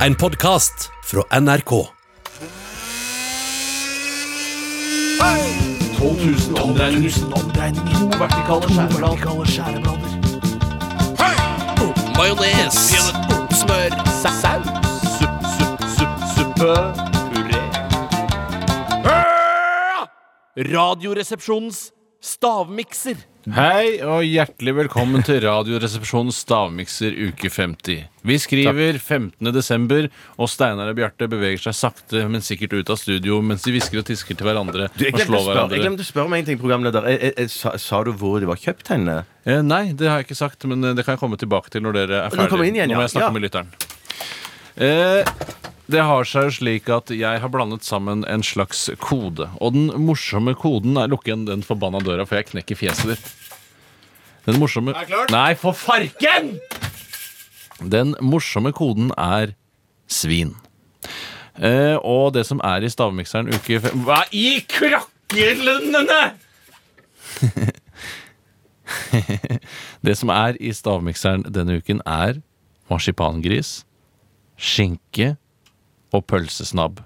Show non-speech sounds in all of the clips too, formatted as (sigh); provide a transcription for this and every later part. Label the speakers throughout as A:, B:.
A: En podkast fra NRK.
B: 12 000 omdreininger. To vertikale skjæreblader.
A: Majones. Smør.
B: Saus. Supp, supp, supp, suppe. Puré. Radioresepsjonens stavmikser.
C: Hei og hjertelig velkommen til Radioresepsjonens stavmikser uke 50. Vi skriver 15. desember, og Steinar og Bjarte beveger seg sakte, men sikkert ut av studio mens de hvisker og tisker til hverandre
D: Du, jeg,
C: og
D: glemte å
C: slår
D: spørre, jeg
C: hverandre.
D: glemte å spørre om en ting, programleder. Jeg, jeg, jeg, sa, sa du hvor det var kjøpt henne?
C: Eh, nei, det har jeg ikke sagt, men eh, det kan jeg komme tilbake til når dere er
D: Når du kommer
C: ferdige.
D: inn igjen,
C: Nå
D: ja.
C: må jeg snakke
D: Ja.
C: med lytteren. Eh, det har seg jo slik at jeg har blandet sammen en slags kode. Og den morsomme koden er Lukk igjen den forbanna døra, for jeg knekker fjeset ditt. Den morsomme Nei, for farken! Den morsomme koden er svin. Eh, og det som er i stavmikseren uke fem Hva i krakkelønnene?! Det som er i stavmikseren denne uken, er marsipangris, skinke og pølsesnabb.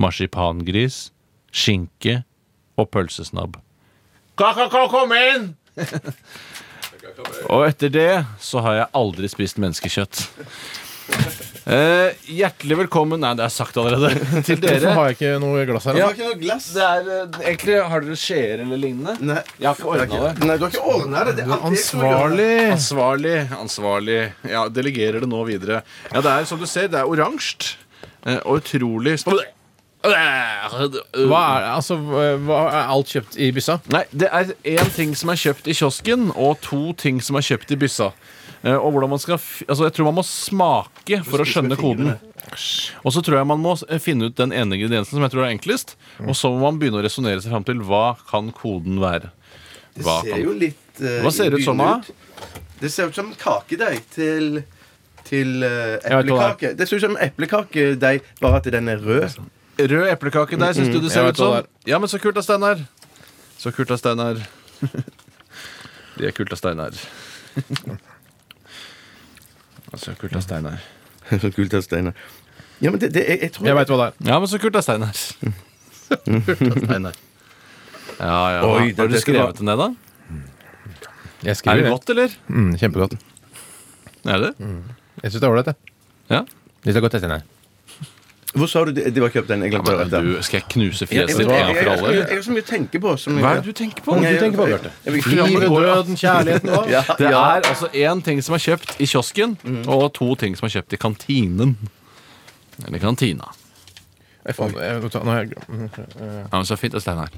C: Marsipangris, skinke og pølsesnabb. Ka-ka-ka, kom inn! og etter det så har jeg aldri spist menneskekjøtt. Eh, hjertelig velkommen Nei, det er sagt allerede. (laughs) Til
E: Hvorfor
C: dere.
E: har jeg ikke noe glass her?
F: ikke noe glass.
C: Det er, eh, egentlig, har dere skjeer eller lignende?
F: Nei,
C: Jeg har ikke ordna det.
F: Nei, du har ikke ordna det. det er alltid jeg som gjør det.
E: Ansvarlig!
C: Ansvarlig, ansvarlig. Ja, delegerer det nå videre. Ja, det er som du ser, det er oransje. eh, Og utrolig sp-
E: Hva er, altså, hva er alt kjøpt i byssa?
C: Nei, det er én ting som er kjøpt i kiosken, og to ting som er kjøpt i byssa. Eh, Og hvordan man skal f Altså, jeg tror man må smake for å skjønne koden. Og så tror jeg man må eh, finne ut den ene ingrediensen som jeg tror er enklest.
E: Mm.
C: Og så må man begynne å resonnere seg fram til hva kan koden være.
F: Det
C: Hva
F: ser
C: kan-
F: jo litt eh,
C: Hva ser det ut som,
F: begynnende
C: da?
F: ut. Det ser ut som kakedeig til til eh,
C: vet hva
F: eplekake. Det ser ut som eplekakedeig, bare at den er rød.
C: Rød eplekake der, syns du det ser
E: jeg
C: ut
E: vet hva
C: som?
E: det
C: Ja, men så kult av Steinar. Så kult av (laughs) Steinar. De er kult av (laughs) Steinar. Så kult av Steinar.
F: (laughs) Så kult av Steinar. Ja, men det, det, jeg, jeg tror
E: Jeg veit hva det (laughs) er.
C: Ja, men så kult av Steinar. Så Kult av Steinar. Ja, ja.
F: Oi, det-
C: Har du
F: dette var-
C: skrevet den ned, da?
E: Jeg
C: Er
E: skriver
C: det
E: det.
C: godt, eller?
E: Mm, kjempegodt.
C: Er det?
E: Jeg syns det er ålreit, jeg.
C: Ja.
E: Litt av godt etter, nei.
F: Hvor sa du det, det var kjøpt den? Jeg glemte å
C: Men,
F: høre
C: du, skal jeg knuse
F: Jeg
C: fjeset ditt en gang for alle? eller?
F: har så mye å tenke på. Som
C: Hva er det du tenker på?
F: Jeg-
E: tenker på, Bjarte?
F: jeg- jeg-
E: Livet, døden, kjærligheten (laughs) hva?
F: Ja,
C: Det
F: ja.
C: er altså én ting som er kjøpt i kiosken, og to ting som er kjøpt i kantinen. Eller kantina.
E: Jeg faen, jeg- nå har jeg- Mm.
C: Ja, men Så fint, det, Steinar.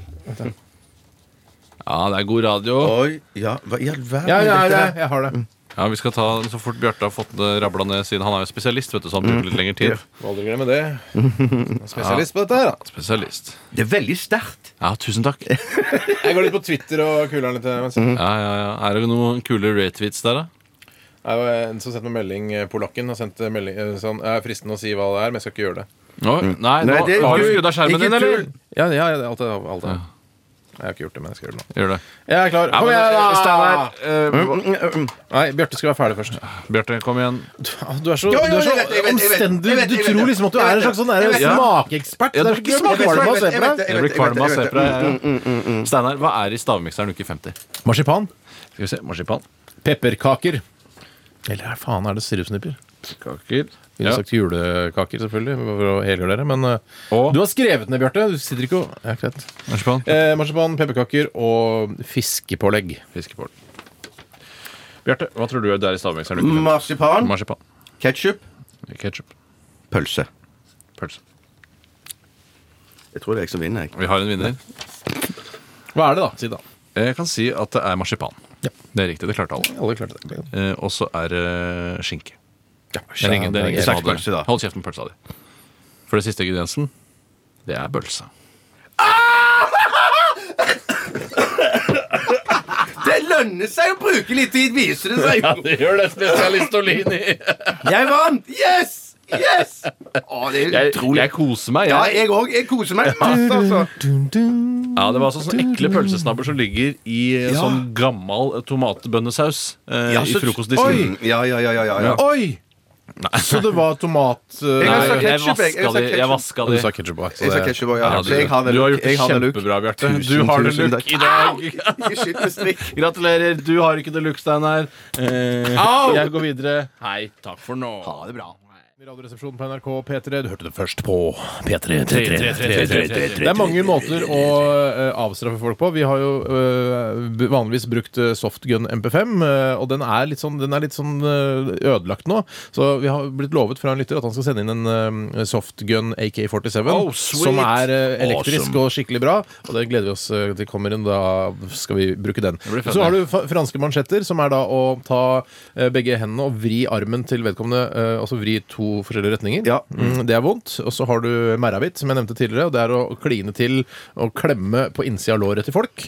C: Ja, det er god radio.
F: Oi, ja, hva i all verden?
E: Ja, Mm. ja,
F: er dette
E: ja,
F: her?
E: jeg har det.
C: Ja, Vi skal ta den så fort Bjarte har fått det rabla ned, siden han er jo spesialist. vet du, så han bruker litt lengre tid.
E: Må aldri glemme (laughs) det. Jeg er Spesialist på dette her, da.
C: Spesialist.
F: Det er veldig sterkt.
C: Ja, tusen takk. Ja,
E: Jeg går litt på Twitter og kuler'n litt. mens jeg-
C: ja, ja. Er det noen kule retweets der, da?
E: Det er jo en som sendte meg melding, eh, polakken, har sendt eh, melding eh, sånn Jeg er fristende å si hva det er, men jeg skal ikke gjøre det.
C: Nå, nei, nå,
F: Nei, det er
C: Har du
F: kul.
C: skrudd av skjermen
F: Ikke
C: din, eller?
F: kul.
E: Ja, ja, ja det er alt, det- alt det. Jeg har ikke gjort det, men jeg skal gjøre det nå.
C: Gjør det.
E: Jeg er klar.
C: Ja,
E: Kom
C: men,
E: igjen, da!
C: Steinar. eh,
E: Nei, Bjarte skal være ferdig først.
C: Bjarte, kom igjen.
E: Ah, Du er så,
F: Jo, jo,
E: du er så
F: jeg vet, jeg vet, jeg vet,
E: omstendig.
F: jeg vet, jeg
E: Du
F: vet,
E: tror
F: jeg
E: liksom at du
F: vet,
E: er en
F: jeg
E: slags sånn der
F: vet, jeg vet.
E: smakeekspert.
C: Ja, du
E: Det er
C: er
E: så
C: ikke
E: kvalm av å se på deg.
C: Jeg blir kvalm av å se på deg. jeg. Steinar, hva er i stavmikseren uke 50?
E: Marsipan.
C: Skal vi se. Marsipan.
E: Pepperkaker. Eller hva faen er det sirupsnipper?
C: Kaker.
E: Vi har
C: Ja.
E: sagt julekaker, selvfølgelig, for å helgjøre dere. Men eh,
C: Og
E: du har skrevet ned, Bjarte. Du sitter ikke og ja, greit.
C: marsipan.
E: Eh, marsipan, pepperkaker og fiskepålegg.
C: Fiskepål. Bjarte, hva tror du er der i stavmikseren? uke 50?
F: Marsipan,
C: Marsipan.
F: ketsjup,
C: Ketchup.
F: pølse.
C: Pølse.
F: Jeg tror det er jeg som vinner. jeg
C: Vi har en vinner.
E: Hva er det, da? Si det, da.
C: Jeg kan si at det er marsipan. Det er riktig. Det klarte alle.
E: Alle klarte det.
C: Eh, Og så er det skinke.
E: Ja,
C: Det er ingen, det er ingen som
F: Slags
C: hadde-
F: pølse, da.
C: Hold kjeft med pølsa di. For det siste ingrediensen, det er bølse.
F: Det lønner seg å bruke litt tid, viser det seg jo.
C: Det gjør det spesialist Olini.
F: Jeg vant! Yes! Yes! Å, det er
C: Jeg,
F: utrolig.
C: jeg koser meg.
F: Ja,
C: Jeg.
F: jeg òg. Jeg koser meg masse, altså.
C: Ja, Det var altså sånne ekle pølsesnabber som ligger i eh,
F: Ja.
C: sånn gammal tomatbønnesaus eh,
F: Ja,
C: i
F: så-
C: frokostdisken.
F: Ja, ja, ja, ja, ja. ja.
C: Oi!
E: Så det var tomat... eh,
F: Jeg har sagt
C: Nei, jeg
F: ketchup, jeg. Jeg
C: vaska de. Jeg vaska
F: har sagt ketchup.
E: du
C: de.
E: sa ketchup også, så
F: Jeg sa
E: det-
F: ketchup også, ja.
C: Ja,
F: Så jeg har
C: du,
F: det
C: du har
F: look.
C: gjort det
F: Jeg har det look.
C: kjempebra, (laughs) Bjarte. Du
F: Tusen,
C: har det
F: tusen
C: look
F: takk.
C: i dag.
F: Ikke skitt med
C: (laughs)
F: strikk.
C: Gratulerer. Du har ikke det look, Steinar. Eh,
E: Au!
C: jeg går videre. Hei, takk for nå.
E: Radioresepsjonen på NRK P3. Du hørte det først på P3. Det
C: Det
E: er mange måter å eh, avstraffe folk på. Vi har jo eh, b- vanligvis brukt eh, softgun MP5, eh, og den er litt sånn, den er litt sånn eh, ødelagt nå. Så vi har blitt lovet fra en lytter at han skal sende inn en eh, softgun AK-47,
C: Oh, sweet.
E: som er eh, elektrisk
C: Awesome.
E: og skikkelig bra. Og det gleder vi oss eh, til kommer inn. Da skal vi bruke den.
C: blir fett,
E: Så har du fa- franske mansjetter, som er da å ta eh, begge hendene og vri armen til vedkommende, eh, altså vri to forskjellige retninger.
F: Ja.
E: Mm, det er vondt. Og så har du merrabitt, som jeg nevnte tidligere. og Det er å kline til og klemme på innsida av låret til folk.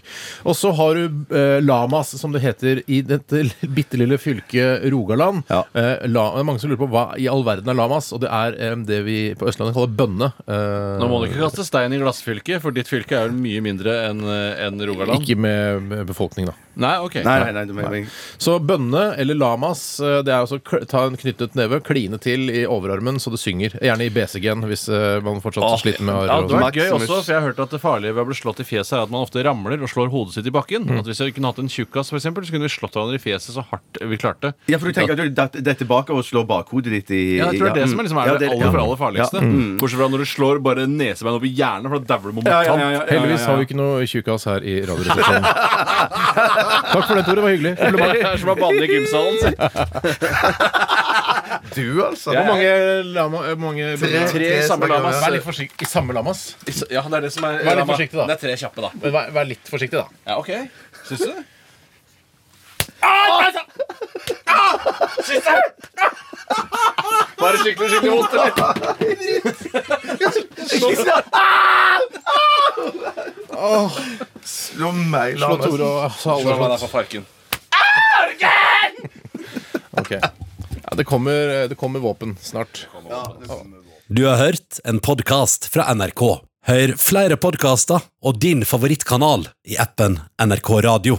E: Og så har du eh, lamas, som det heter i dette (laughs) bitte lille fylket Rogaland.
F: Ja.
E: Eh, la, det er mange som lurer på hva i all verden er lamas, og det er eh, det vi på Østlandet kaller bønne. Eh,
C: Nå må du ikke kaste stein i glassfylket, for ditt fylke er vel mye mindre enn eh, enn Rogaland.
E: Ikke med med befolkning, da.
C: Nei, ok.
F: Nei, nei, nei, du mener meg.
E: Så bønne eller lamas, eh, det er altså kl- ta en knyttet neve, kline til i overarmen så det synger. Gjerne i BCG-en hvis eh, man fortsatt sliter med
C: Ja, det
E: armer.
C: var gøy
F: Maximus.
C: også, for jeg har hørt at det farlige ved å bli slått i fjeset er at man ofte ramler og slår hodet sitt i bakken.
E: Mm.
C: At Hvis jeg kunne hatt en tjukkas, for eksempel, så kunne vi slått hverandre i fjeset så hardt vi klarte.
F: Ja, for du tenker at du datt- detter bakover og slår bakhodet ditt i
C: Ja, jeg tror det er det
F: ja.
C: som er, liksom, er Mm.
F: Ja,
C: det,
F: det- ja.
C: aller, aller farligste. Bortsett fra når du slår bare nesebein over hjernen, for da dauer du på
F: Ja,
C: mortant.
F: ja, ja, ja, ja, ja,
E: Heldigvis
F: ja.
E: har vi ikke noe tjukkas her i Radioresepsjonen. Takk for det, Tore. Det var hyggelig. Kompliment.
C: Det er som å banne i gymsalen. sier jeg.
F: Du, altså.
E: Hvor mange lama... eh, hvor Mange
C: Tre samme lamas.
E: Vær litt forsiktig. I samme lamas?
C: Ja, det er det som er
E: Vær litt forsiktig, da.
C: Det er tre kjappe, da.
E: Men vær, vær litt forsiktig, da.
C: Ja, ok. Syns du? Var det skikkelig, skikkelig vondt, eller?
E: (laughs)
F: Slå meg,
E: Slå
F: Lars.
E: Tore og så alle
C: Hvordan var det
E: slått.
C: for farken?
E: Ok. Ja, det, kommer, eh, det kommer våpen snart.
A: Du har hørt en podcast fra NRK. Hør flere podcaster og din favorittkanal i appen NRK Radio.